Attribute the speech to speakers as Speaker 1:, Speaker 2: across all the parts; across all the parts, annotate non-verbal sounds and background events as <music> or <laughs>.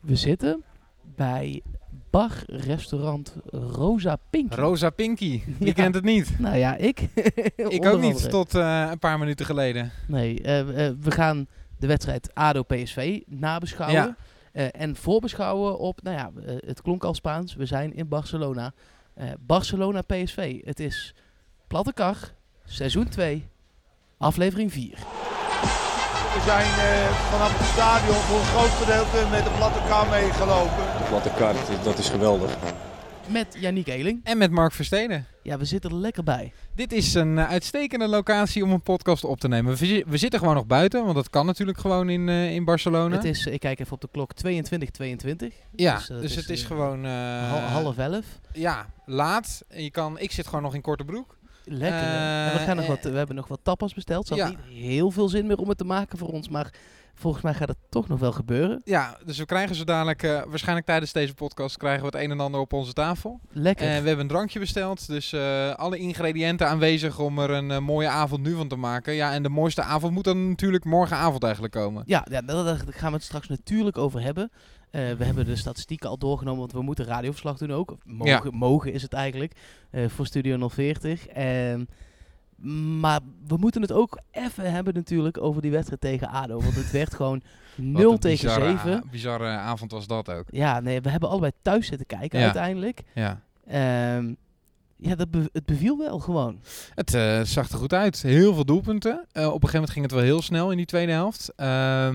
Speaker 1: We zitten bij bar restaurant Rosa Pink.
Speaker 2: Rosa Pinky, wie
Speaker 1: Ja.
Speaker 2: kent het niet?
Speaker 1: nou ja, ik.
Speaker 2: <laughs> Ik ook niet, tot eh, een paar minuten geleden.
Speaker 1: Nee, eh, eh, we gaan de wedstrijd ADO-PSV nabeschouwen.
Speaker 2: Ja.
Speaker 1: eh, en voorbeschouwen op, nou ja, eh, het klonk al Spaans. We zijn in Barcelona. Eh, Barcelona-PSV. Het is Platte Kar, seizoen 2, aflevering 4.
Speaker 3: We zijn eh, vanaf het stadion voor een groot gedeelte met de platte kar meegelopen.
Speaker 4: De platte kar, dat is geweldig.
Speaker 1: Met Yannick Eeling.
Speaker 2: En met Mark Versteden.
Speaker 1: Ja, we zitten er lekker bij.
Speaker 2: Dit is een eh, uitstekende locatie om een podcast op te nemen. We, zi- we zitten gewoon nog buiten, want dat kan natuurlijk gewoon in, eh, in Barcelona.
Speaker 1: Het is, ik kijk even op de klok, 22, 22.
Speaker 2: ja,
Speaker 1: dus,
Speaker 2: dus,
Speaker 1: eh, het
Speaker 2: het
Speaker 1: is,
Speaker 2: is
Speaker 1: eh,
Speaker 2: gewoon... eh,
Speaker 1: Hal- half elf.
Speaker 2: Ja, laat. Je kan, ik zit gewoon nog in korte broek.
Speaker 1: Lekker. hè?
Speaker 2: eh,
Speaker 1: En we, gaan nog
Speaker 2: eh,
Speaker 1: wat, we hebben nog wat tapas besteld. Ze had
Speaker 2: ja.
Speaker 1: niet heel veel zin meer om het te maken voor ons. Maar volgens mij gaat het toch nog wel gebeuren.
Speaker 2: Ja, dus we krijgen zo dadelijk, eh, waarschijnlijk tijdens deze podcast, krijgen we het een en ander op onze tafel.
Speaker 1: Lekker.
Speaker 2: En Eh, we hebben een drankje besteld, dus eh, alle ingrediënten aanwezig om er een eh, mooie avond nu van te maken. Ja, en de mooiste avond moet dan natuurlijk morgenavond eigenlijk komen.
Speaker 1: ja, ja daar, daar gaan we het straks natuurlijk over hebben. Eh, we hebben de statistieken al doorgenomen, want we moeten radioverslag doen ook. Mogen, mogen is het eigenlijk eh, voor Studio 040. En, maar we moeten het ook even hebben natuurlijk over die wedstrijd tegen ADO. Want het werd
Speaker 2: <laughs>
Speaker 1: gewoon 0 tegen 7.
Speaker 2: Een bizarre avond was dat ook.
Speaker 1: Ja, nee, we hebben allebei thuis zitten kijken
Speaker 2: Ja.
Speaker 1: uiteindelijk.
Speaker 2: Ja.
Speaker 1: Ehm, ja, dat be- het beviel wel gewoon.
Speaker 2: Het eh, zag er goed uit. Heel veel doelpunten. Eh, op een gegeven moment ging het wel heel snel in die tweede helft.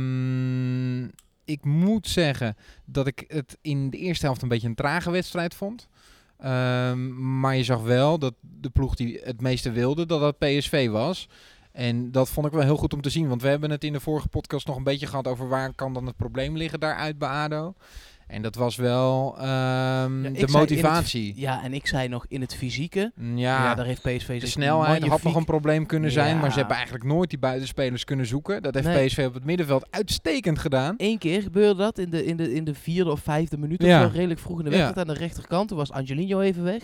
Speaker 2: Ehm, ik moet zeggen dat ik het in de eerste helft een beetje een trage wedstrijd vond. Ehm, maar je zag wel dat de ploeg die het meeste wilde, dat dat PSV was. En dat vond ik wel heel goed om te zien. Want we hebben het in de vorige podcast nog een beetje gehad over waar kan dan het probleem liggen daaruit bij ADO. En dat was wel ehm,
Speaker 1: ik zei in
Speaker 2: de
Speaker 1: het-
Speaker 2: motivatie.
Speaker 1: Ja, en ik zei nog in het fysieke. Ja,
Speaker 2: ja,
Speaker 1: daar heeft PSV
Speaker 2: de
Speaker 1: zich
Speaker 2: snelheid had nog
Speaker 1: magnifiek-
Speaker 2: een probleem kunnen zijn, maar
Speaker 1: Ja.
Speaker 2: ze hebben eigenlijk nooit die buitenspelers kunnen zoeken. Dat heeft
Speaker 1: Nee.
Speaker 2: PSV op het middenveld uitstekend gedaan.
Speaker 1: Eén keer gebeurde dat in de, in de, in de vierde of vijfde minuut.
Speaker 2: Ja.
Speaker 1: Of zo, redelijk vroeg in de
Speaker 2: Ja.
Speaker 1: wedstrijd aan de rechterkant. Toen was Angelino even weg.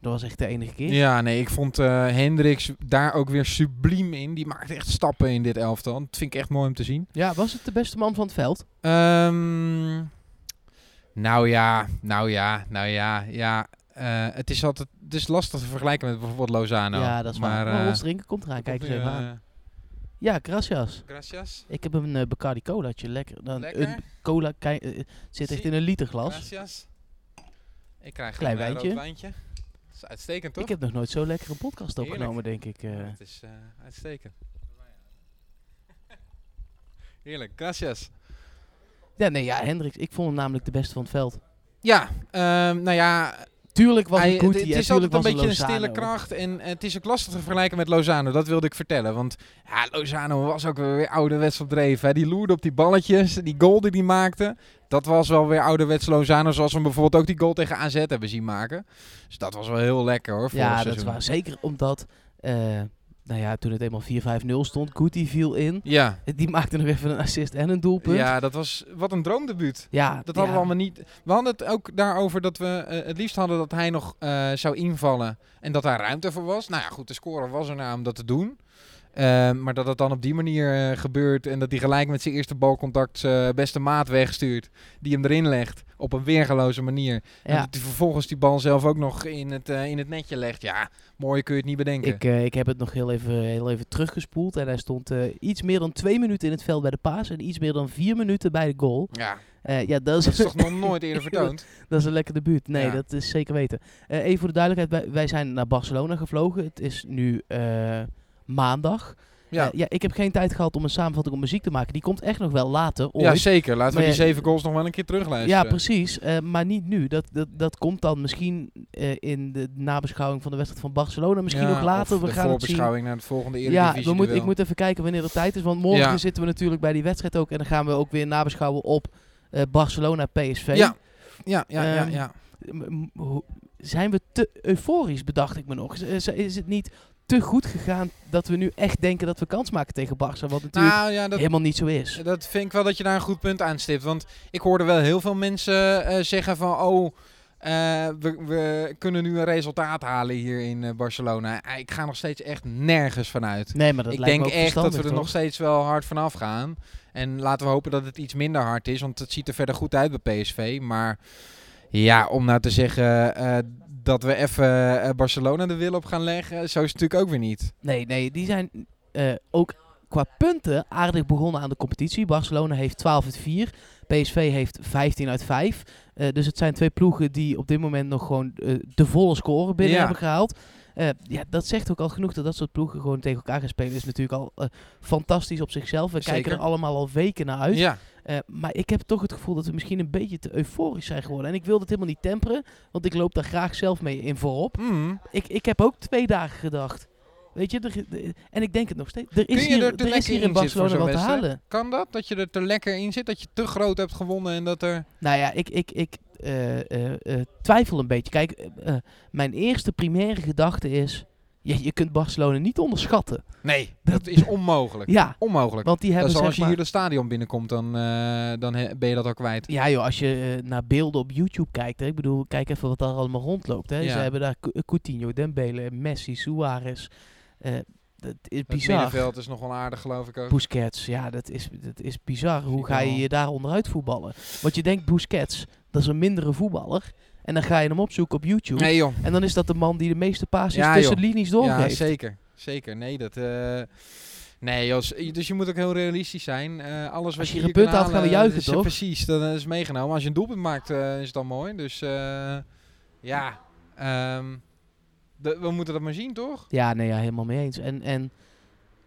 Speaker 1: Dat was echt de enige keer.
Speaker 2: Ja, nee, ik vond eh, Hendricks daar ook weer subliem in. Die maakt echt stappen in dit elftal. Dat vind ik echt mooi om te zien.
Speaker 1: Ja, was het de beste man van het veld?
Speaker 2: Ehm, nou ja, nou ja, nou ja, ja. Eh, het, is altijd, het is lastig te vergelijken met bijvoorbeeld Lozano.
Speaker 1: ja, dat is
Speaker 2: maar,
Speaker 1: waar. Maar
Speaker 2: eh,
Speaker 1: ons drinken komt eraan. Kijk eens
Speaker 2: komt
Speaker 1: even
Speaker 2: nu,
Speaker 1: aan.
Speaker 2: eh,
Speaker 1: Ja, gracias.
Speaker 2: Gracias.
Speaker 1: Ik heb een eh, Bacardi colaatje. Lekker. Dan
Speaker 2: Lekker.
Speaker 1: Een cola kei- eh, eh, zit echt
Speaker 2: Zie-
Speaker 1: in een literglas.
Speaker 2: Gracias. Ik krijg
Speaker 1: Klein
Speaker 2: een eh,
Speaker 1: wijntje.
Speaker 2: rood wijntje. Dat is uitstekend, toch?
Speaker 1: Ik heb nog nooit zo lekker een podcast
Speaker 2: Heerlijk.
Speaker 1: opgenomen, denk ik. eh.
Speaker 2: Het is eh, uitstekend. Heerlijk, gracias.
Speaker 1: Ja, nee, ja, Hendricks. Ik vond hem namelijk de beste van het veld.
Speaker 2: Ja, ehm, nou ja,
Speaker 1: Tuurlijk was
Speaker 2: hij-
Speaker 1: het
Speaker 2: het,
Speaker 1: goed.
Speaker 2: het is altijd een beetje een stille kracht. En eh, het is ook lastig te vergelijken met Lozano, dat wilde ik vertellen. Want ja, Lozano was ook weer ouderwets op dreef. Hè. Die loerde op die balletjes, die goal die hij maakte. Dat was wel weer ouderwets Lozano, zoals we hem bijvoorbeeld ook die goal tegen AZ hebben zien maken. Dus dat was wel heel lekker hoor. vorig
Speaker 1: Ja, dat
Speaker 2: seizoen.
Speaker 1: was zeker omdat, eh, nou ja, toen het eenmaal 4-5-0 stond, Guti viel in.
Speaker 2: Ja.
Speaker 1: Die maakte nog even een assist en een doelpunt.
Speaker 2: ja, dat was wat een droomdebuut.
Speaker 1: Ja,
Speaker 2: Dat
Speaker 1: ja.
Speaker 2: hadden we allemaal niet. We hadden het ook daarover dat we eh, het liefst hadden dat hij nog eh, zou invallen. En dat daar ruimte voor was. Nou ja, goed, de score was er nou om dat te doen. Eh, maar dat het dan op die manier eh, gebeurt. En dat hij gelijk met zijn eerste balcontact zijn eh, beste maat wegstuurt. Die hem erin legt. Op een weergeloze manier. En
Speaker 1: Ja.
Speaker 2: dat hij vervolgens die bal zelf ook nog in het, eh, in het netje legt. Ja, mooi kun je het niet bedenken.
Speaker 1: Ik, eh, ik heb het nog heel even, heel even teruggespoeld. En hij stond eh, iets meer dan twee minuten in het veld bij de paas. En iets meer dan vier minuten bij de goal.
Speaker 2: Ja,
Speaker 1: Eh, ja, dat is,
Speaker 2: dat <laughs> is toch nog
Speaker 1: <laughs>
Speaker 2: nooit eerder vertoond.
Speaker 1: dat is een lekker debuut. Nee,
Speaker 2: Ja.
Speaker 1: dat is zeker weten. Eh, even voor de duidelijkheid. Wij, wij zijn naar Barcelona gevlogen. Het is nu eh, maandag. Ja.
Speaker 2: Ja,
Speaker 1: Eh, ja, ik heb geen tijd gehad om een samenvatting op muziek te maken. Die komt echt nog wel later. Ooit.
Speaker 2: ja zeker. Laten we
Speaker 1: Maar
Speaker 2: die
Speaker 1: ja,
Speaker 2: zeven goals nog wel een keer terugluisteren.
Speaker 1: Ja, precies. eh, maar niet nu. Dat, dat, dat komt dan misschien eh, in de nabeschouwing van de wedstrijd van Barcelona. Misschien
Speaker 2: Ja,
Speaker 1: nog later.
Speaker 2: of
Speaker 1: We
Speaker 2: de
Speaker 1: gaan het zien.
Speaker 2: voorbeschouwing naar het volgende
Speaker 1: Ja,
Speaker 2: Eredivisie.
Speaker 1: we moet, ik
Speaker 2: duel.
Speaker 1: moet even kijken wanneer de tijd is. Want morgen
Speaker 2: Ja.
Speaker 1: zitten we natuurlijk bij die wedstrijd ook. En dan gaan we ook weer nabeschouwen op eh, Barcelona PSV.
Speaker 2: Ja, ja, ja, ja,
Speaker 1: Ehm,
Speaker 2: ja.
Speaker 1: M- m- hoe- Zijn we te euforisch, bedacht ik me nog. Is, is het niet te goed gegaan dat we nu echt denken dat we kans maken tegen Barça? Wat natuurlijk
Speaker 2: Nou ja, dat,
Speaker 1: helemaal niet zo is.
Speaker 2: dat vind ik wel dat je daar een goed punt aan stipt. Want ik hoorde wel heel veel mensen eh, zeggen van... Oh, Eh, we, we kunnen nu een resultaat halen hier in eh, Barcelona. Eh, ik ga nog steeds echt nergens vanuit.
Speaker 1: Nee, maar dat
Speaker 2: ik
Speaker 1: lijkt
Speaker 2: denk
Speaker 1: me ook
Speaker 2: echt dat we er
Speaker 1: verstandig,
Speaker 2: nog steeds wel hard vanaf gaan. En laten we hopen dat het iets minder hard is. Want het ziet er verder goed uit bij PSV. Maar ja, om nou te zeggen eh, dat we even eh, Barcelona de wil op gaan leggen. Zo is het natuurlijk ook weer niet.
Speaker 1: toch? Nee, nee, die zijn eh, ook qua punten aardig begonnen aan de competitie. Barcelona heeft 12 uit 4. PSV heeft 15 uit 5. Eh, dus het zijn twee ploegen die op dit moment nog gewoon eh, de volle score binnen
Speaker 2: Ja.
Speaker 1: hebben gehaald. Eh, ja, dat zegt ook al genoeg dat dat soort ploegen gewoon tegen elkaar gaan spelen. Is natuurlijk al eh, fantastisch op zichzelf. We kijken
Speaker 2: Zeker.
Speaker 1: er allemaal al weken naar uit.
Speaker 2: Ja,
Speaker 1: Eh, maar ik heb toch het gevoel dat we misschien een beetje te euforisch zijn geworden. En ik wil dat helemaal niet temperen, want ik loop daar graag zelf mee in voorop.
Speaker 2: Mm.
Speaker 1: Ik, ik heb ook twee dagen gedacht. Weet je, er- er- en ik denk het nog steeds. Er
Speaker 2: Kun
Speaker 1: is
Speaker 2: je
Speaker 1: hier,
Speaker 2: er te
Speaker 1: er is
Speaker 2: lekker
Speaker 1: hier
Speaker 2: in
Speaker 1: in
Speaker 2: zitten voor
Speaker 1: Barcelona
Speaker 2: zo'n
Speaker 1: wat te
Speaker 2: wedstrijd?
Speaker 1: halen.
Speaker 2: kan dat? Dat je er te lekker in zit? Dat je te groot hebt gewonnen en dat er...
Speaker 1: Nou ja, ik, ik, ik eh, eh, eh, twijfel een beetje. Kijk, eh, eh, mijn eerste primaire gedachte is... Je, je kunt Barcelona niet onderschatten.
Speaker 2: Nee, dat is onmogelijk.
Speaker 1: Ja,
Speaker 2: Onmogelijk.
Speaker 1: want die
Speaker 2: Dat
Speaker 1: hebben
Speaker 2: is al
Speaker 1: zeg
Speaker 2: als je
Speaker 1: maar-
Speaker 2: hier het stadion binnenkomt, dan, eh, dan he- ben je dat al kwijt.
Speaker 1: Ja joh, als je eh, naar beelden op YouTube kijkt, hè, ik bedoel, kijk even wat daar allemaal rondloopt. Hè.
Speaker 2: Ja.
Speaker 1: Ze hebben daar Cou- eh, Coutinho, Dembele, Messi, Suarez. Eh, dat is
Speaker 2: Het
Speaker 1: bizar.
Speaker 2: middenveld is nog wel aardig, geloof ik ook.
Speaker 1: Busquets, ja, dat is, dat is bizar. Hoe
Speaker 2: Vind ik
Speaker 1: ga je
Speaker 2: wel.
Speaker 1: je daar onderuit voetballen? Want je denkt, Busquets, dat is een mindere voetballer. En dan ga je hem opzoeken op YouTube.
Speaker 2: Nee joh.
Speaker 1: En dan is dat de man die de meeste passes
Speaker 2: Ja,
Speaker 1: tussen
Speaker 2: joh.
Speaker 1: de linies doorgeeft.
Speaker 2: Ja, zeker. Zeker. Nee, dat... eh, nee, joh, s- dus je moet ook heel realistisch zijn. Eh, alles
Speaker 1: Als
Speaker 2: wat
Speaker 1: je
Speaker 2: je
Speaker 1: hier
Speaker 2: hier
Speaker 1: een punt
Speaker 2: kan
Speaker 1: haalt, gaan we
Speaker 2: halen,
Speaker 1: juichen,
Speaker 2: is, eh,
Speaker 1: toch?
Speaker 2: Precies, dat is meegenomen. Als je een doelpunt maakt, eh, is het dan mooi. Dus eh, ja, ehm, de- we moeten dat maar zien, toch?
Speaker 1: Ja, nee, ja, helemaal mee eens. En, en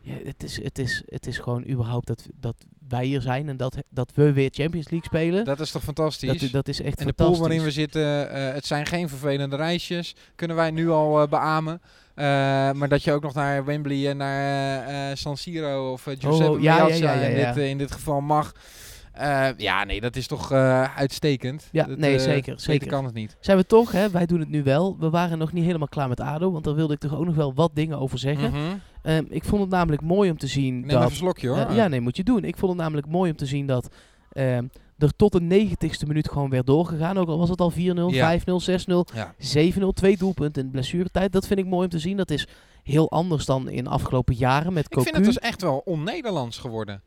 Speaker 1: ja, het, is, het, is, het is gewoon überhaupt dat, dat wij hier zijn en dat, dat we weer Champions League spelen.
Speaker 2: Dat is toch fantastisch?
Speaker 1: Dat, dat is echt
Speaker 2: en de pool
Speaker 1: fantastisch.
Speaker 2: waarin we zitten, eh, het zijn geen vervelende reisjes. Kunnen wij nu al eh, beamen. Eh, maar dat je ook nog naar Wembley en naar eh, eh, San Siro of eh, Giuseppe
Speaker 1: oh, ja, ja,
Speaker 2: Meazza
Speaker 1: ja, ja,
Speaker 2: In,
Speaker 1: ja.
Speaker 2: dit, eh, in dit geval mag. Eh, ja, nee, dat is toch eh, uitstekend.
Speaker 1: Ja,
Speaker 2: Dat,
Speaker 1: nee,
Speaker 2: eh,
Speaker 1: zeker,
Speaker 2: beter
Speaker 1: zeker.
Speaker 2: kan het niet.
Speaker 1: Zijn we toch, hè? wij doen het nu wel. We waren nog niet helemaal klaar met ADO, want daar wilde ik toch ook nog wel wat dingen over zeggen.
Speaker 2: Mhm.
Speaker 1: Ehm, ik vond het namelijk mooi om te zien
Speaker 2: Neem even
Speaker 1: dat...
Speaker 2: een slokje hoor.
Speaker 1: Eh, ja, nee, moet je doen. Ik vond het namelijk mooi om te zien dat ehm, er tot de negentigste minuut gewoon weer doorgegaan. Ook al was het al 4-0,
Speaker 2: Ja.
Speaker 1: 5-0, 6-0.
Speaker 2: Ja.
Speaker 1: 7-0, twee doelpunten in blessuretijd. Dat vind ik mooi om te zien. Dat is heel anders dan in afgelopen jaren met
Speaker 2: Ik
Speaker 1: Cocu.
Speaker 2: vind het dus echt wel on-Nederlands geworden.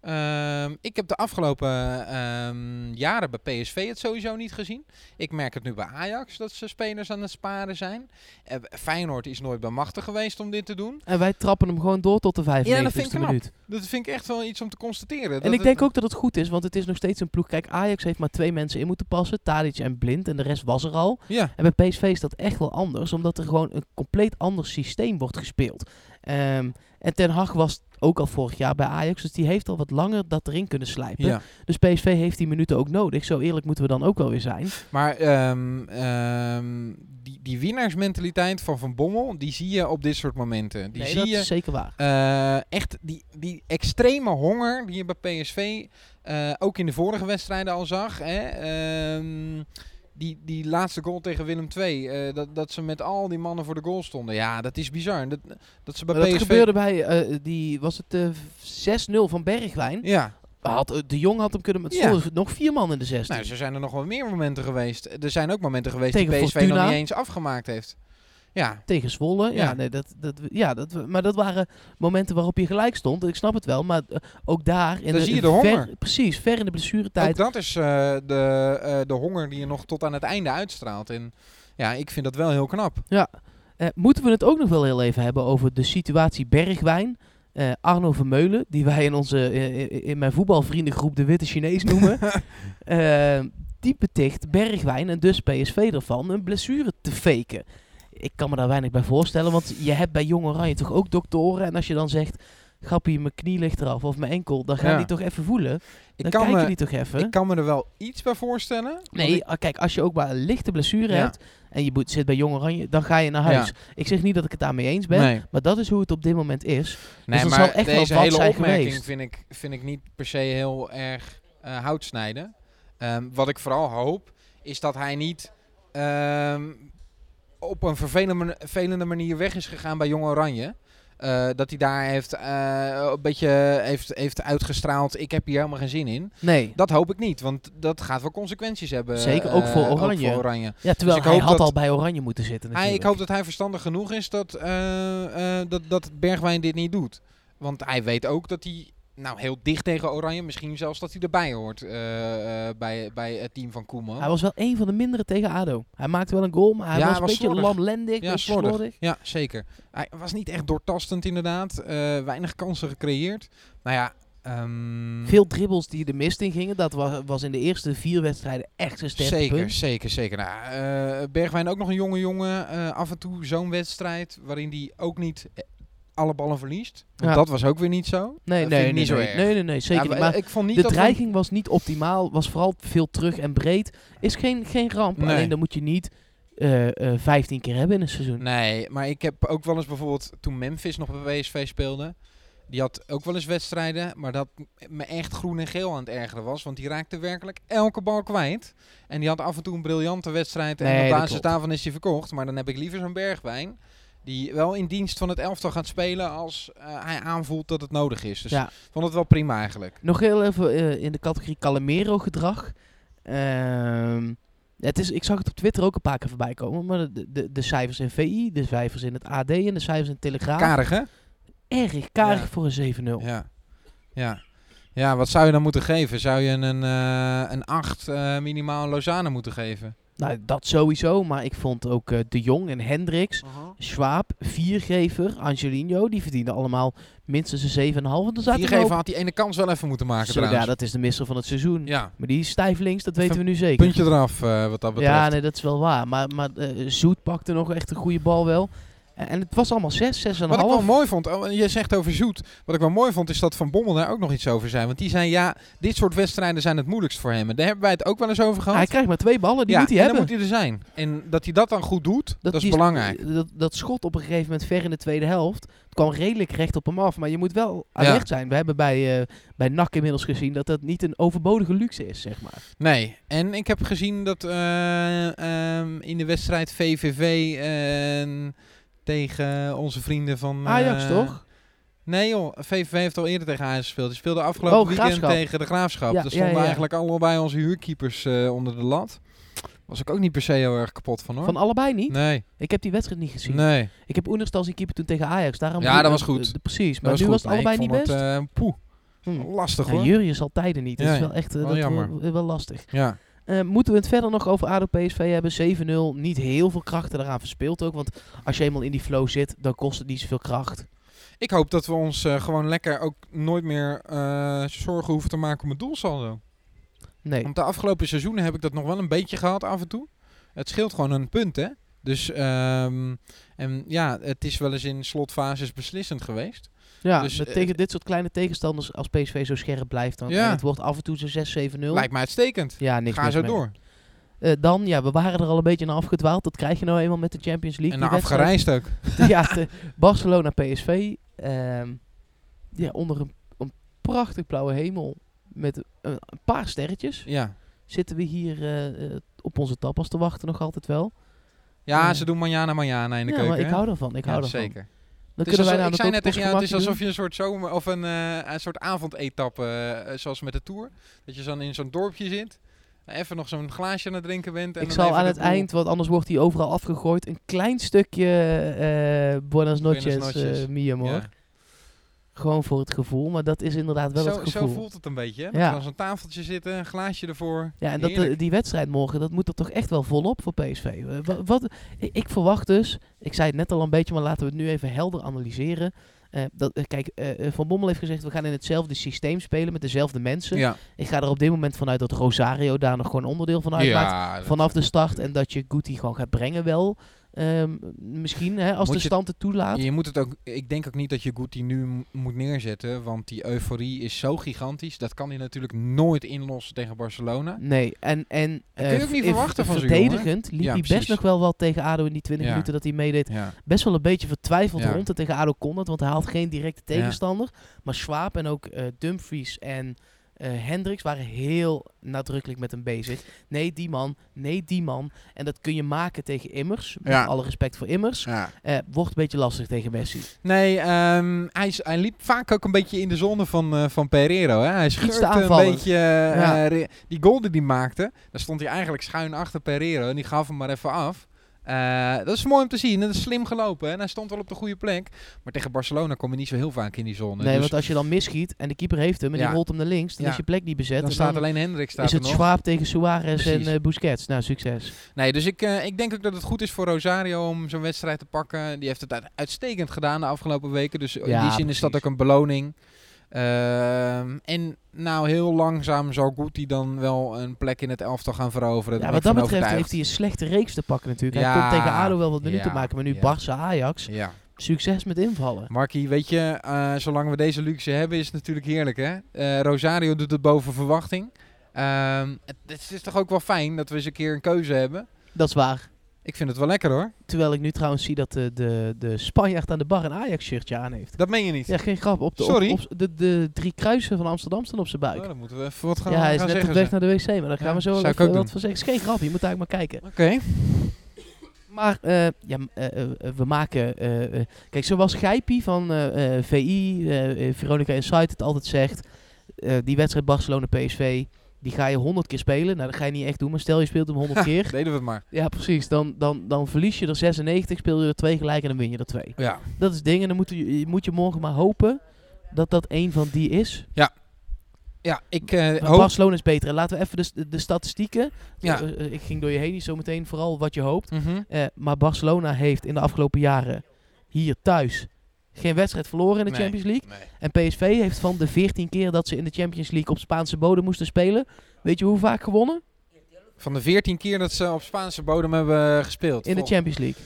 Speaker 2: Ehm, ik heb de afgelopen ehm, jaren bij PSV het sowieso niet gezien. Ik merk het nu bij Ajax dat ze spelers aan het sparen zijn. Eh, Feyenoord is nooit bij machten geweest om dit te doen.
Speaker 1: En wij trappen hem gewoon door tot de
Speaker 2: Ja, dat
Speaker 1: 95ste
Speaker 2: vind ik knap.
Speaker 1: minuut.
Speaker 2: Dat vind ik echt wel iets om te constateren.
Speaker 1: En ik denk ook dat het goed is, want het is nog steeds een ploeg. Kijk, Ajax heeft maar twee mensen in moeten passen. Tadic en Blind. En de rest was er al.
Speaker 2: Ja,
Speaker 1: En bij PSV is dat echt wel anders, omdat er gewoon een compleet ander systeem wordt gespeeld. Ehm, en Ten Hag was ook al vorig jaar bij Ajax, dus die heeft al wat langer dat erin kunnen slijpen.
Speaker 2: ja.
Speaker 1: Dus PSV heeft die minuten ook nodig. Zo eerlijk moeten we dan ook wel weer zijn.
Speaker 2: maar ehm, ehm, die, die winnaarsmentaliteit van Van Bommel, die zie je op dit soort momenten. Die
Speaker 1: Nee,
Speaker 2: zie
Speaker 1: dat
Speaker 2: je
Speaker 1: is zeker waar.
Speaker 2: Eh, echt die, die extreme honger die je bij PSV eh, ook in de vorige wedstrijden al zag. Hè? Ehm, die, die laatste goal tegen Willem II, eh, dat, dat ze met al die mannen voor de goal stonden. Ja, dat is bizar. En Dat, dat ze bij
Speaker 1: Maar dat
Speaker 2: PSV...
Speaker 1: gebeurde bij, eh, die, was het eh, 6-0 van Bergwijn?
Speaker 2: Ja,
Speaker 1: Had, eh, de Jong had hem kunnen, met
Speaker 2: Ja.
Speaker 1: nog vier man in de 16.
Speaker 2: nou, er zijn er nog wel meer momenten geweest. Er zijn ook momenten geweest die
Speaker 1: Tegen
Speaker 2: PSV nog
Speaker 1: Fortuna.
Speaker 2: niet eens afgemaakt heeft. Ja,
Speaker 1: Tegen Zwolle, ja,
Speaker 2: Ja.
Speaker 1: nee, dat, dat, ja dat, maar dat waren momenten waarop je gelijk stond. Ik snap het wel, maar eh, ook daar... In
Speaker 2: Dan zie je de
Speaker 1: ver-
Speaker 2: honger.
Speaker 1: precies, ver in de blessuretijd.
Speaker 2: ook dat is eh, de, eh, de honger die je nog tot aan het einde uitstraalt. En ja, ik vind dat wel heel knap.
Speaker 1: Eh, moeten we het ook nog wel heel even hebben over de situatie Bergwijn? Eh, Arno Vermeulen, die wij in, onze, eh, eh, in mijn voetbalvriendengroep de Witte Chinees
Speaker 2: <laughs>
Speaker 1: noemen. Eh, die beticht Bergwijn en dus PSV ervan een blessure te faken. Ik kan me daar weinig bij voorstellen, want je hebt bij Jong Oranje toch ook doktoren. En als je dan zegt, grappie, mijn knie ligt eraf of mijn enkel, dan gaan
Speaker 2: Ja.
Speaker 1: die toch even voelen.
Speaker 2: Ik
Speaker 1: Dan
Speaker 2: kan,
Speaker 1: kijken
Speaker 2: me,
Speaker 1: die toch even.
Speaker 2: ik kan me er wel iets bij voorstellen. want
Speaker 1: Nee, ah, kijk, als je ook maar een lichte blessure
Speaker 2: Ja.
Speaker 1: hebt en je moet- zit bij Jong Oranje, dan ga je naar
Speaker 2: Ja.
Speaker 1: huis. Ik zeg niet dat ik het daarmee eens ben,
Speaker 2: Nee,
Speaker 1: maar dat is hoe het op dit moment is.
Speaker 2: nee
Speaker 1: Dus dat
Speaker 2: maar
Speaker 1: zal echt wel
Speaker 2: deze
Speaker 1: wat
Speaker 2: hele
Speaker 1: zijn
Speaker 2: opmerking
Speaker 1: geweest.
Speaker 2: vind ik, vind ik niet per se heel erg eh hout snijden. Ehm, wat ik vooral hoop, is dat hij niet ehm, op een vervelende, man- vervelende manier weg is gegaan bij Jong Oranje. eh, dat hij daar heeft, eh, een beetje heeft, heeft uitgestraald. Ik heb hier helemaal geen zin in.
Speaker 1: Nee.
Speaker 2: Dat hoop ik niet, want dat gaat wel consequenties hebben.
Speaker 1: Zeker, ook
Speaker 2: eh,
Speaker 1: voor Oranje.
Speaker 2: voor Oranje.
Speaker 1: Ja, terwijl
Speaker 2: Dus ik
Speaker 1: hij
Speaker 2: hoop
Speaker 1: had
Speaker 2: dat-
Speaker 1: al bij Oranje moeten zitten
Speaker 2: Hij,
Speaker 1: natuurlijk.
Speaker 2: ik hoop dat hij verstandig genoeg is dat, eh, eh, dat, dat Bergwijn dit niet doet. Want hij weet ook dat hij nou, heel dicht tegen Oranje, misschien zelfs dat hij erbij hoort eh, eh, bij, bij het team van Koeman.
Speaker 1: Hij was wel een van de mindere tegen ADO. Hij maakte wel een goal, maar hij was
Speaker 2: Ja, hij
Speaker 1: een
Speaker 2: was
Speaker 1: beetje
Speaker 2: slordig.
Speaker 1: lamlendig, een
Speaker 2: ja,
Speaker 1: beetje slordig.
Speaker 2: slordig. Ja, zeker. Hij was niet echt doortastend inderdaad. Eh, weinig kansen gecreëerd. Nou ja, ehm,
Speaker 1: Veel dribbles die de mist in gingen, dat was, was in de eerste vier wedstrijden echt zijn sterke
Speaker 2: Zeker,
Speaker 1: punt.
Speaker 2: zeker, zeker. Nou, eh, Bergwijn ook nog een jonge jongen. eh, af en toe zo'n wedstrijd waarin hij ook niet eh, alle ballen verliest. Want
Speaker 1: Ja.
Speaker 2: Dat was ook weer niet zo.
Speaker 1: Nee,
Speaker 2: Dat
Speaker 1: nee,
Speaker 2: vind ik
Speaker 1: nee,
Speaker 2: niet zo
Speaker 1: nee,
Speaker 2: erg.
Speaker 1: nee, nee, nee, zeker
Speaker 2: Ja,
Speaker 1: niet.
Speaker 2: maar,
Speaker 1: Maar
Speaker 2: eh, ik vond niet
Speaker 1: de
Speaker 2: dat we-
Speaker 1: dreiging was niet optimaal, was vooral veel terug en breed. Is geen, geen ramp,
Speaker 2: Nee.
Speaker 1: alleen dat moet je niet eh, eh, 15 keer hebben in een seizoen.
Speaker 2: Nee, maar ik heb ook wel eens bijvoorbeeld toen Memphis nog bij PSV speelde. Die had ook wel eens wedstrijden, maar dat me echt groen en geel aan het ergeren was. Want die raakte werkelijk elke bal kwijt. En die had af en toe een briljante wedstrijd. En
Speaker 1: Nee,
Speaker 2: op
Speaker 1: dat
Speaker 2: basis
Speaker 1: klopt.
Speaker 2: daarvan is hij verkocht. Maar dan heb ik liever zo'n Bergwijn. Die wel in dienst van het elftal gaat spelen als eh, hij aanvoelt dat het nodig is. Dus
Speaker 1: Ja.
Speaker 2: ik vond het wel prima eigenlijk.
Speaker 1: Nog heel even eh, in de categorie Calamero gedrag. Ehm, het is, ik zag het op Twitter ook een paar keer voorbij komen. Maar de, de, de cijfers in VI, de cijfers in het AD en de cijfers in de Telegraaf.
Speaker 2: Karig hè?
Speaker 1: erg karig
Speaker 2: Ja.
Speaker 1: voor een 7-0.
Speaker 2: Ja. ja. Ja, wat zou je dan moeten geven? Zou je een, eh, een 8 eh, minimaal Lozano moeten geven?
Speaker 1: Nou, dat sowieso. Maar ik vond ook eh, De Jong en Hendricks, Schwab, Viergever, Angelino. Die verdienden allemaal minstens een 7,5. Want er zaten
Speaker 2: Die
Speaker 1: er ook-
Speaker 2: geven had die ene kans wel even moeten maken
Speaker 1: Zo, ja,
Speaker 2: trouwens.
Speaker 1: dat is de misser van het seizoen.
Speaker 2: Ja,
Speaker 1: Maar die is stijf links, dat weten
Speaker 2: Even
Speaker 1: we nu zeker.
Speaker 2: puntje eraf eh, wat dat betreft.
Speaker 1: Ja, nee, dat is wel waar. Maar, maar eh, Zoet pakte nog echt een goede bal wel. En, en het was allemaal 6, 6,5.
Speaker 2: Wat ik wel mooi vond, oh, en je zegt over Zoet. Wat ik wel mooi vond is dat Van Bommel daar ook nog iets over zei. Want die zei ja, dit soort wedstrijden zijn het moeilijkst voor hem. En daar hebben wij het ook wel eens over gehad.
Speaker 1: Hij krijgt maar twee ballen, die
Speaker 2: ja,
Speaker 1: moet hij
Speaker 2: en
Speaker 1: hebben.
Speaker 2: dan moet hij er zijn. En dat hij dat dan goed doet, dat, is
Speaker 1: die
Speaker 2: belangrijk.
Speaker 1: Dat, dat schot op een gegeven moment ver in de tweede helft. Het kwam redelijk recht op hem af. Maar je moet wel alert zijn. We hebben bij, eh bij NAC inmiddels gezien dat dat niet een overbodige luxe is, zeg maar.
Speaker 2: Nee, en ik heb gezien dat eh, ehm, in de wedstrijd VVV eh, tegen onze vrienden van...
Speaker 1: Ajax,
Speaker 2: eh,
Speaker 1: toch?
Speaker 2: Nee joh, VVV heeft al eerder tegen Ajax gespeeld. Die speelde afgelopen
Speaker 1: Oh,
Speaker 2: weekend
Speaker 1: Graafschap.
Speaker 2: tegen de Graafschap.
Speaker 1: Ja,
Speaker 2: Daar
Speaker 1: ja,
Speaker 2: stonden
Speaker 1: ja.
Speaker 2: eigenlijk allebei onze huurkeepers eh, onder de lat. Was ik ook niet per se heel erg kapot van hoor.
Speaker 1: Van allebei niet.
Speaker 2: nee,
Speaker 1: Ik heb die wedstrijd niet gezien.
Speaker 2: nee.
Speaker 1: Ik heb Oenerstal zien keeper toen tegen Ajax. Daarom
Speaker 2: Ja, dat was goed.
Speaker 1: eh, eh, precies, maar
Speaker 2: Dat
Speaker 1: nu
Speaker 2: goed.
Speaker 1: was het
Speaker 2: Nee, ik
Speaker 1: allebei niet
Speaker 2: vond
Speaker 1: best.
Speaker 2: het, eh, poeh,
Speaker 1: Hm.
Speaker 2: lastig
Speaker 1: Ja,
Speaker 2: hoor.
Speaker 1: Jurrius al tijden niet. Dat
Speaker 2: Ja,
Speaker 1: is wel echt eh,
Speaker 2: wel
Speaker 1: dat
Speaker 2: jammer.
Speaker 1: wordt wel lastig.
Speaker 2: Ja.
Speaker 1: Eh, moeten we het verder nog over ADO PSV hebben? 7-0, niet heel veel krachten daaraan verspeeld ook. Want als je eenmaal in die flow zit, dan kost het niet zoveel kracht.
Speaker 2: Ik hoop dat we ons eh, gewoon lekker ook nooit meer eh, zorgen hoeven te maken om het doelsaldo.
Speaker 1: Nee.
Speaker 2: Want de afgelopen seizoenen heb ik dat nog wel een beetje gehad af en toe. Het scheelt gewoon een punt, hè? Dus ehm, en ja, het is wel eens in slotfases beslissend geweest.
Speaker 1: Ja,
Speaker 2: dus,
Speaker 1: met
Speaker 2: eh,
Speaker 1: tegen dit soort kleine tegenstanders, als PSV zo scherp blijft, dan
Speaker 2: Ja.
Speaker 1: en het wordt af en toe zo'n 6-7-0.
Speaker 2: Lijkt me uitstekend.
Speaker 1: Ja, niks
Speaker 2: Ga
Speaker 1: mis
Speaker 2: zo
Speaker 1: mee.
Speaker 2: door.
Speaker 1: Eh, dan, ja, we waren er al een beetje naar afgedwaald. Dat krijg je nou eenmaal met de Champions League.
Speaker 2: En
Speaker 1: die
Speaker 2: naar afgereisd ook.
Speaker 1: wedstrijd. <laughs> ja, de Barcelona PSV. ehm, ja, onder een, een prachtig blauwe hemel met een, een paar sterretjes.
Speaker 2: Ja.
Speaker 1: zitten we hier eh, eh, op onze tapas te wachten nog altijd wel.
Speaker 2: Ja,
Speaker 1: Ja.
Speaker 2: ze doen manjana manjana in de
Speaker 1: ja,
Speaker 2: keuken.
Speaker 1: maar ik
Speaker 2: hè?
Speaker 1: hou ervan. Ik
Speaker 2: Ja,
Speaker 1: hou ervan.
Speaker 2: Zeker.
Speaker 1: Dan
Speaker 2: Het is
Speaker 1: kunnen wij
Speaker 2: alsof-
Speaker 1: naar
Speaker 2: ik
Speaker 1: de
Speaker 2: zei net tegen jou, het is alsof
Speaker 1: alsof
Speaker 2: je een soort zomer of een, eh, een soort avondetappe, eh, zoals met de tour, dat je dan in zo'n dorpje zit, even nog zo'n glaasje aan het drinken bent. En
Speaker 1: Ik
Speaker 2: dan
Speaker 1: zal
Speaker 2: even
Speaker 1: aan
Speaker 2: de
Speaker 1: het
Speaker 2: boel-
Speaker 1: eind, want anders wordt hij overal afgegooid, een klein stukje eh Buenas
Speaker 2: Buenas
Speaker 1: noches,
Speaker 2: noches.
Speaker 1: eh mi amor.
Speaker 2: Ja.
Speaker 1: Gewoon voor het gevoel, maar dat is inderdaad wel het
Speaker 2: Zo,
Speaker 1: gevoel.
Speaker 2: zo voelt het een beetje. hè?
Speaker 1: Ja.
Speaker 2: Dat je aan zo'n tafeltje zitten, een glaasje ervoor.
Speaker 1: ja, en dat, eh,
Speaker 2: Heerlijk.
Speaker 1: die wedstrijd morgen, dat moet er toch echt wel volop voor PSV. Eh, wa- wat, ik, ik verwacht dus, ik zei het net al een beetje, maar laten we het nu even helder analyseren. Eh, dat, eh, kijk, eh, Van Bommel heeft gezegd, we gaan in hetzelfde systeem spelen met dezelfde mensen.
Speaker 2: Ja,
Speaker 1: Ik ga er op dit moment vanuit dat Rosario daar nog gewoon onderdeel van uitmaakt.
Speaker 2: ja dat-
Speaker 1: Vanaf de start. En dat je Guti gewoon gaat brengen wel. Ehm, misschien, hè, als
Speaker 2: Moet
Speaker 1: de
Speaker 2: je-
Speaker 1: stand het toelaat.
Speaker 2: je moet het ook, ik denk ook niet dat je Guti nu m- moet neerzetten, want die euforie is zo gigantisch. Dat kan hij natuurlijk nooit inlossen tegen Barcelona.
Speaker 1: Nee, en... en
Speaker 2: kun je
Speaker 1: eh,
Speaker 2: ook niet
Speaker 1: v-
Speaker 2: verwachten van zo'n
Speaker 1: Verdedigend liep
Speaker 2: Ja,
Speaker 1: hij best
Speaker 2: precies.
Speaker 1: nog wel wat tegen ADO in die 20
Speaker 2: Ja.
Speaker 1: minuten dat hij meedeed.
Speaker 2: Ja.
Speaker 1: Best wel een beetje vertwijfeld
Speaker 2: Ja.
Speaker 1: rond. En tegen ADO kon dat, want hij haalt geen directe tegenstander. Maar Schwab en ook eh, Dumfries en eh, Hendricks waren heel nadrukkelijk met hem bezig. Nee, die man. Nee, die man. En dat kun je maken tegen Immers.
Speaker 2: Ja.
Speaker 1: Met alle respect voor Immers.
Speaker 2: Ja.
Speaker 1: Eh, wordt een beetje lastig tegen Messi.
Speaker 2: Nee, ehm, hij, is- hij liep vaak ook een beetje in de zone van, eh van Pereiro. Hè? Hij
Speaker 1: te
Speaker 2: scheurde een
Speaker 1: aanvallend.
Speaker 2: beetje eh,
Speaker 1: Ja.
Speaker 2: re- die goal die hij maakte. Daar stond hij eigenlijk schuin achter Pereiro en die gaf hem maar even af. Eh, dat is mooi om te zien. Dat is slim gelopen. hè. En hij stond wel op de goede plek. Maar tegen Barcelona kom je niet zo heel vaak in die zone.
Speaker 1: nee,
Speaker 2: dus
Speaker 1: want als je dan misschiet en de keeper heeft hem en
Speaker 2: Ja.
Speaker 1: die rolt hem naar links, dan
Speaker 2: Ja.
Speaker 1: is je plek niet bezet.
Speaker 2: dan
Speaker 1: en
Speaker 2: staat
Speaker 1: dan
Speaker 2: alleen Hendrik staat
Speaker 1: is
Speaker 2: er
Speaker 1: het
Speaker 2: nog.
Speaker 1: Schwab tegen Suarez
Speaker 2: Precies.
Speaker 1: en eh, Busquets. Nou, succes.
Speaker 2: Nee, dus ik, eh, ik denk ook dat het goed is voor Rosario om zo'n wedstrijd te pakken. Die heeft het uit- uitstekend gedaan de afgelopen weken. Dus in
Speaker 1: Ja,
Speaker 2: die zin is dat ook
Speaker 1: precies.
Speaker 2: een beloning. Ehm, en nou, heel langzaam zal Guti dan wel een plek in het elftal gaan veroveren.
Speaker 1: Ja,
Speaker 2: Daar
Speaker 1: wat
Speaker 2: ben
Speaker 1: dat
Speaker 2: ik van
Speaker 1: betreft heeft hij
Speaker 2: overtuigd.
Speaker 1: een slechte reeks te pakken natuurlijk.
Speaker 2: Ja.
Speaker 1: Hij komt tegen ADO wel wat minuten
Speaker 2: Ja.
Speaker 1: maken, maar nu
Speaker 2: Ja.
Speaker 1: Barça Ajax.
Speaker 2: Ja.
Speaker 1: Succes met invallen.
Speaker 2: Markie, weet je, eh, zolang we deze luxe hebben is het natuurlijk heerlijk, hè? Eh, Rosario doet het boven verwachting. Ehm, het, het is toch ook wel fijn dat we eens een keer een keuze hebben.
Speaker 1: Dat is waar.
Speaker 2: Ik vind het wel lekker, hoor.
Speaker 1: Terwijl ik nu trouwens zie dat de, de, de Spanjaard aan de bar een Ajax-shirtje aan heeft.
Speaker 2: Dat meen je niet.
Speaker 1: Ja, geen grap. Op de, op-
Speaker 2: Sorry?
Speaker 1: Op, de, de drie kruisen van Amsterdam staan op zijn buik.
Speaker 2: Nou, dan moeten we even wat gaan,
Speaker 1: ja, hij is
Speaker 2: gaan
Speaker 1: net op
Speaker 2: zeggen.
Speaker 1: weg
Speaker 2: ze.
Speaker 1: naar de wc, maar daar gaan
Speaker 2: Ja,
Speaker 1: we zo
Speaker 2: zou
Speaker 1: wel
Speaker 2: ik
Speaker 1: even
Speaker 2: ook
Speaker 1: wat
Speaker 2: doen.
Speaker 1: van zeggen. Is geen grap, je moet eigenlijk maar kijken.
Speaker 2: Oké.
Speaker 1: Maar eh, ja, m- eh, eh, eh, we maken... eh, eh, kijk, zoals Gijpie van eh, eh, VI, eh, eh, Veronica Insight het altijd zegt... eh, die wedstrijd Barcelona-PSV, die ga je honderd keer spelen. Nou, dat ga je niet echt doen, maar stel je speelt hem
Speaker 2: <laughs>
Speaker 1: honderd keer.
Speaker 2: Deden we het maar.
Speaker 1: Ja, precies. Dan, dan, dan verlies je er 96, speel je er twee gelijk en dan win je er twee.
Speaker 2: Ja.
Speaker 1: Dat is het ding en dan moet je, je moet je morgen maar hopen dat dat één van die is.
Speaker 2: Ja, ik eh,
Speaker 1: Maar
Speaker 2: hoop...
Speaker 1: Barcelona is beter. En laten we even de, st- de statistieken.
Speaker 2: Ja.
Speaker 1: Eh, eh, ik ging door je heen, niet zo meteen vooral wat je hoopt.
Speaker 2: Mhm.
Speaker 1: Eh, maar Barcelona heeft in de afgelopen jaren hier thuis geen wedstrijd verloren in de
Speaker 2: Nee.
Speaker 1: Champions League. En PSV heeft van de 14 keer dat ze in de Champions League op Spaanse bodem moesten spelen, weet je hoe vaak gewonnen?
Speaker 2: Van de 14 keer dat ze op Spaanse bodem hebben gespeeld.
Speaker 1: In de
Speaker 2: Vol-
Speaker 1: Champions League.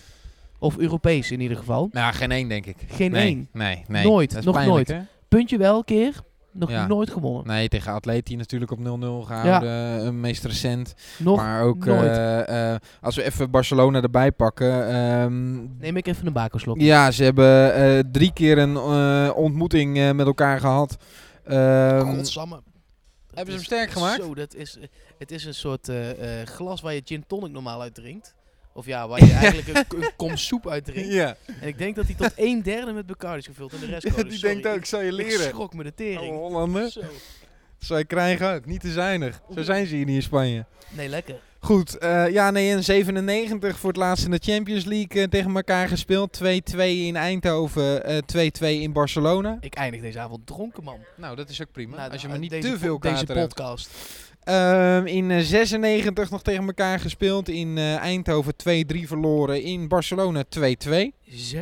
Speaker 1: Of Europees in ieder geval.
Speaker 2: Nou, geen één, denk ik.
Speaker 1: Geen
Speaker 2: nee,
Speaker 1: één.
Speaker 2: Nee, nee.
Speaker 1: Nooit,
Speaker 2: Dat is
Speaker 1: nog
Speaker 2: pijnlijk,
Speaker 1: Puntje wel een keer, nog
Speaker 2: Ja.
Speaker 1: nooit gewonnen.
Speaker 2: hè? Nee, tegen Atleti natuurlijk op 0-0 gehouden. eh, meest recent.
Speaker 1: Nog
Speaker 2: maar ook
Speaker 1: nooit.
Speaker 2: eh, eh, als we even Barcelona erbij pakken. ehm,
Speaker 1: neem ik even een bakerslok.
Speaker 2: ja, ze hebben eh, drie keer een eh, ontmoeting eh, met elkaar gehad. Ehm,
Speaker 1: Godsamme.
Speaker 2: Hebben ze hem sterk gemaakt?
Speaker 1: Zo, dat is, eh, het is een soort eh, eh, glas waar je gin tonic normaal uit drinkt. Of ja, waar
Speaker 2: <laughs>
Speaker 1: je eigenlijk een, k- een kom soep uit drinkt.
Speaker 2: ja,
Speaker 1: En ik denk dat hij
Speaker 2: <laughs>
Speaker 1: tot een derde met Bacardi is gevuld en de rest
Speaker 2: die
Speaker 1: cola. Sorry,
Speaker 2: denkt ook, ik zal je
Speaker 1: Ik, ik
Speaker 2: leren. Oh,
Speaker 1: schrok me de
Speaker 2: Oude
Speaker 1: tering.
Speaker 2: Hollander.
Speaker 1: Zo.
Speaker 2: Zij krijgen ook, niet te zuinig. Zo zijn ze hier niet in Spanje.
Speaker 1: Nee, lekker.
Speaker 2: Goed, eh, ja, nee, in 97 voor het laatst in de Champions League eh, tegen elkaar gespeeld. 2-2 in Eindhoven, eh, 2-2 in Barcelona.
Speaker 1: Ik eindig deze avond dronken, man.
Speaker 2: Nou, dat is ook prima.
Speaker 1: Na-
Speaker 2: als je
Speaker 1: na-
Speaker 2: maar niet
Speaker 1: nou, deze
Speaker 2: te veel
Speaker 1: po- Deze
Speaker 2: kater hebt.
Speaker 1: podcast.
Speaker 2: Ehm, in eh, 96 nog tegen elkaar gespeeld. In eh, Eindhoven 2-3 verloren. In Barcelona 2-2.
Speaker 1: Zo.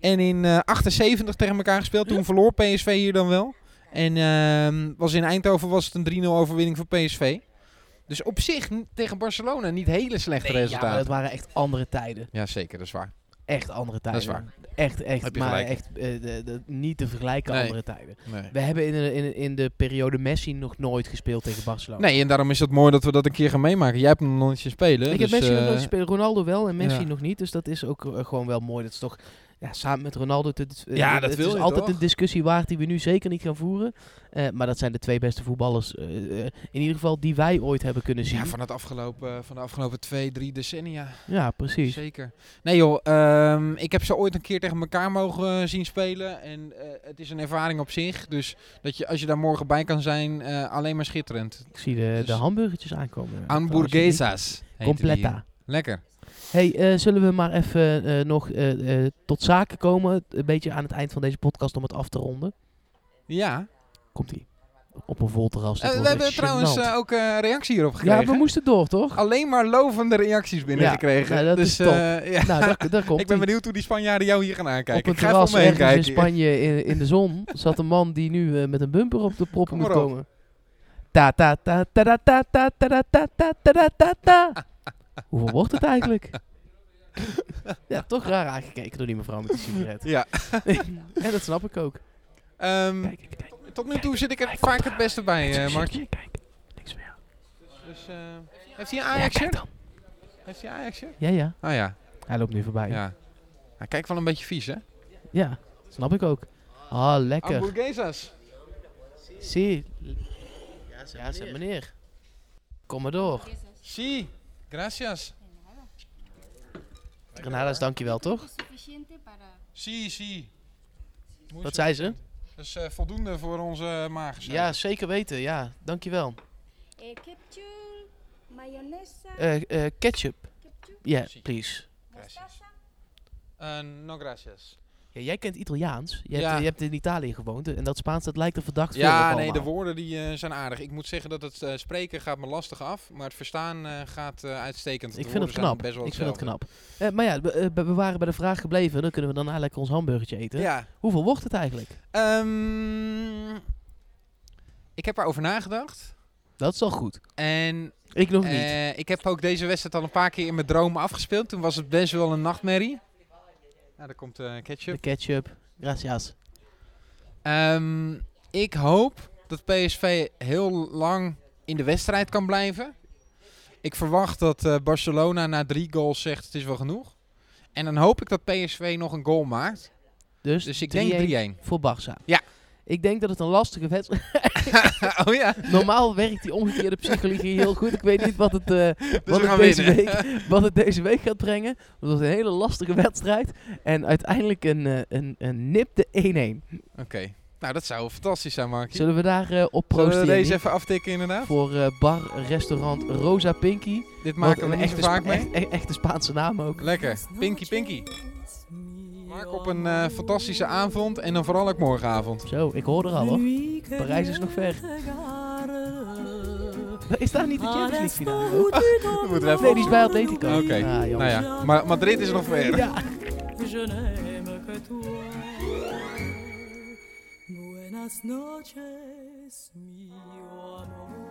Speaker 2: En in eh, 78 tegen elkaar gespeeld. Toen verloor PSV hier dan wel. En ehm, was in Eindhoven was het een 3-0 overwinning voor PSV. Dus op zich n- tegen Barcelona niet hele slechte
Speaker 1: Nee, ja, maar
Speaker 2: resultaten.
Speaker 1: dat waren echt andere tijden.
Speaker 2: Ja, zeker, dat is waar.
Speaker 1: Echt andere tijden.
Speaker 2: is waar.
Speaker 1: Echt, echt.
Speaker 2: Heb je
Speaker 1: maar
Speaker 2: gelijk.
Speaker 1: echt eh, de- de- niet te vergelijken
Speaker 2: Nee.
Speaker 1: andere tijden.
Speaker 2: Nee.
Speaker 1: We hebben in de, in, de- in de periode Messi nog nooit gespeeld tegen Barcelona.
Speaker 2: en daarom is het mooi dat we dat een keer gaan meemaken. Jij hebt hem nog niet zien spelen.
Speaker 1: Ik heb
Speaker 2: dus,
Speaker 1: Messi nog
Speaker 2: eh,
Speaker 1: nooit gespeeld. Ronaldo wel en Messi
Speaker 2: ja.
Speaker 1: nog niet. Dus dat is ook eh, gewoon wel mooi. Dat is toch ja, samen met Ronaldo. Het, het- eh,
Speaker 2: Ja,
Speaker 1: het-
Speaker 2: dat
Speaker 1: het
Speaker 2: wil
Speaker 1: is
Speaker 2: je
Speaker 1: altijd
Speaker 2: toch?
Speaker 1: een discussie waard die we nu zeker niet gaan voeren. Eh, maar dat zijn de twee beste voetballers. eh, eh, in ieder geval die wij ooit hebben kunnen zien.
Speaker 2: Ja, van, het afgelopen, van de afgelopen twee, drie decennia.
Speaker 1: Ja, precies.
Speaker 2: Zeker. Nee joh, ehm, ik heb ze ooit een keer tegen elkaar mogen eh, zien spelen. En eh, het is een ervaring op zich. Dus dat je, als je daar morgen bij kan zijn, eh, alleen maar schitterend.
Speaker 1: Ik zie de, de
Speaker 2: Dus-
Speaker 1: hamburgertjes aankomen.
Speaker 2: Hamburguesas. heten die hier.
Speaker 1: Completa.
Speaker 2: Lekker.
Speaker 1: Hey, eh, zullen we maar even eh, nog eh, eh, tot zaken komen? Een beetje aan het eind van deze podcast om het af te ronden.
Speaker 2: Ja.
Speaker 1: Komt-ie. Op een vol terras.
Speaker 2: Eh,
Speaker 1: Dit
Speaker 2: we
Speaker 1: wordt
Speaker 2: hebben
Speaker 1: echt
Speaker 2: trouwens
Speaker 1: gênant.
Speaker 2: eh, ook eh, reactie hierop gekregen.
Speaker 1: ja, we moesten door, toch?
Speaker 2: Alleen maar lovende reacties binnengekregen.
Speaker 1: Ja, nou, dat
Speaker 2: dus,
Speaker 1: is top.
Speaker 2: eh, ja.
Speaker 1: Nou, daar,
Speaker 2: <laughs>
Speaker 1: daar komt
Speaker 2: Ik ben benieuwd hoe die Spanjaarden jou hier gaan aankijken.
Speaker 1: Op een
Speaker 2: ik ga even
Speaker 1: terras
Speaker 2: omheen
Speaker 1: ergens
Speaker 2: kijken.
Speaker 1: in Spanje in, in de zon zat een man die nu eh, met een bumper op de proppen
Speaker 2: Kom
Speaker 1: moet
Speaker 2: maar op.
Speaker 1: komen. Ta ta ta ta ta ta ta ta ta ta ta ta ta ta ta. Hoeveel wordt het
Speaker 2: <laughs>
Speaker 1: eigenlijk? ja, toch raar aangekeken door die mevrouw met de sigaret.
Speaker 2: Ja.
Speaker 1: <laughs> en dat snap ik ook.
Speaker 2: Ehm,
Speaker 1: Kijk, kijk, kijk.
Speaker 2: tot nu toe zit ik
Speaker 1: Hij
Speaker 2: er
Speaker 1: komt
Speaker 2: vaak het
Speaker 1: eraan.
Speaker 2: beste bij,
Speaker 1: Niks
Speaker 2: eh
Speaker 1: voor
Speaker 2: Markie.
Speaker 1: je, Kijk, niks voor jou.
Speaker 2: Dus, eh, heeft hij een
Speaker 1: Ja,
Speaker 2: Ajax-shirt?
Speaker 1: kijk dan.
Speaker 2: heeft hij een Ajax-shirt?
Speaker 1: Ja, ja.
Speaker 2: Ah ja.
Speaker 1: Hij loopt nu voorbij. Ja,
Speaker 2: Ja. Hij kijkt wel een beetje vies, hè?
Speaker 1: snap ik ook. Ah, lekker.
Speaker 2: Hamburguesas.
Speaker 1: Zie, Ja, zeg meneer. Kom maar door.
Speaker 2: Si, gracias.
Speaker 1: Granadas, dankjewel toch?
Speaker 5: suficiente para
Speaker 2: Si, si.
Speaker 1: Wat zei ze?
Speaker 2: Dat is eh, voldoende voor onze eh, maag. zei
Speaker 1: Ja,
Speaker 2: ze.
Speaker 1: zeker weten. Ja, dankjewel.
Speaker 5: eh, ketchup, mayonesa,
Speaker 1: Eh eh, ketchup.
Speaker 5: ketchup,
Speaker 1: Ja, please.
Speaker 5: mostaza.
Speaker 2: Eh, no gracias.
Speaker 1: Ja, jij kent Italiaans. Je hebt, eh,
Speaker 2: Ja.
Speaker 1: je hebt in Italië gewoond. En dat Spaans, dat lijkt er verdacht veel op
Speaker 2: Ja, nee,
Speaker 1: allemaal.
Speaker 2: de woorden die eh, zijn aardig. Ik moet zeggen dat het eh, spreken gaat me lastig af, maar het verstaan eh, gaat eh, uitstekend.
Speaker 1: Ik vind het
Speaker 2: woorden zijn
Speaker 1: knap.
Speaker 2: best wel
Speaker 1: Ik vind het
Speaker 2: hetzelfde.
Speaker 1: knap. Eh, maar ja, we, eh, we we waren bij de vraag gebleven. Dan kunnen we daarna lekker ons hamburgertje eten.
Speaker 2: Ja.
Speaker 1: Hoeveel wordt het eigenlijk?
Speaker 2: Ehm, ik heb erover nagedacht.
Speaker 1: Dat is al goed.
Speaker 2: En
Speaker 1: Ik nog niet.
Speaker 2: eh, ik heb ook deze wedstrijd al een paar keer in mijn dromen afgespeeld. Toen was het best wel een nachtmerrie. Nou, daar komt eh ketchup.
Speaker 1: De ketchup. Gracias.
Speaker 2: Ehm, ik hoop dat PSV heel lang in de wedstrijd kan blijven. Ik verwacht dat eh, Barcelona na drie goals zegt het is wel genoeg. En dan hoop ik dat PSV nog een goal maakt.
Speaker 1: Dus,
Speaker 2: Dus ik denk 3-1.
Speaker 1: voor Barça.
Speaker 2: Ja.
Speaker 1: Ik denk dat het een lastige wedstrijd
Speaker 2: <laughs> oh ja,
Speaker 1: Normaal werkt die omgekeerde psychologie heel goed. Ik weet niet wat het, eh, wat,
Speaker 2: Dus we
Speaker 1: het
Speaker 2: gaan
Speaker 1: deze
Speaker 2: winnen.
Speaker 1: week, wat het deze week gaat brengen. Het was een hele lastige wedstrijd. En uiteindelijk een, eh, een, een nipte 1-1.
Speaker 2: Oké, nou dat zou fantastisch zijn Mark.
Speaker 1: Zullen we daar eh, op
Speaker 2: Zullen
Speaker 1: proosten?
Speaker 2: we deze
Speaker 1: Yannick?
Speaker 2: even aftikken inderdaad?
Speaker 1: Voor eh, bar, restaurant Rosa Pinky. Wat
Speaker 2: Dit maken we
Speaker 1: een
Speaker 2: niet zo
Speaker 1: echte,
Speaker 2: vaak
Speaker 1: Spa-
Speaker 2: mee.
Speaker 1: echt- echt- echte Spaanse naam ook.
Speaker 2: Lekker, pinky pinky. Maak op een eh, fantastische avond en dan vooral ook morgenavond.
Speaker 1: Zo, ik hoor er al hoor. Parijs is nog ver. Is daar niet de Champions League finale? ook? <laughs>
Speaker 2: Dan moeten we even
Speaker 1: Nee, die is bij Atletico.
Speaker 2: Oké,
Speaker 1: Ah, jammer.
Speaker 2: nou ja. Maar Madrid is nog ver.
Speaker 1: Ja.
Speaker 6: je n'aime que toi. Buenas noches, mio amor.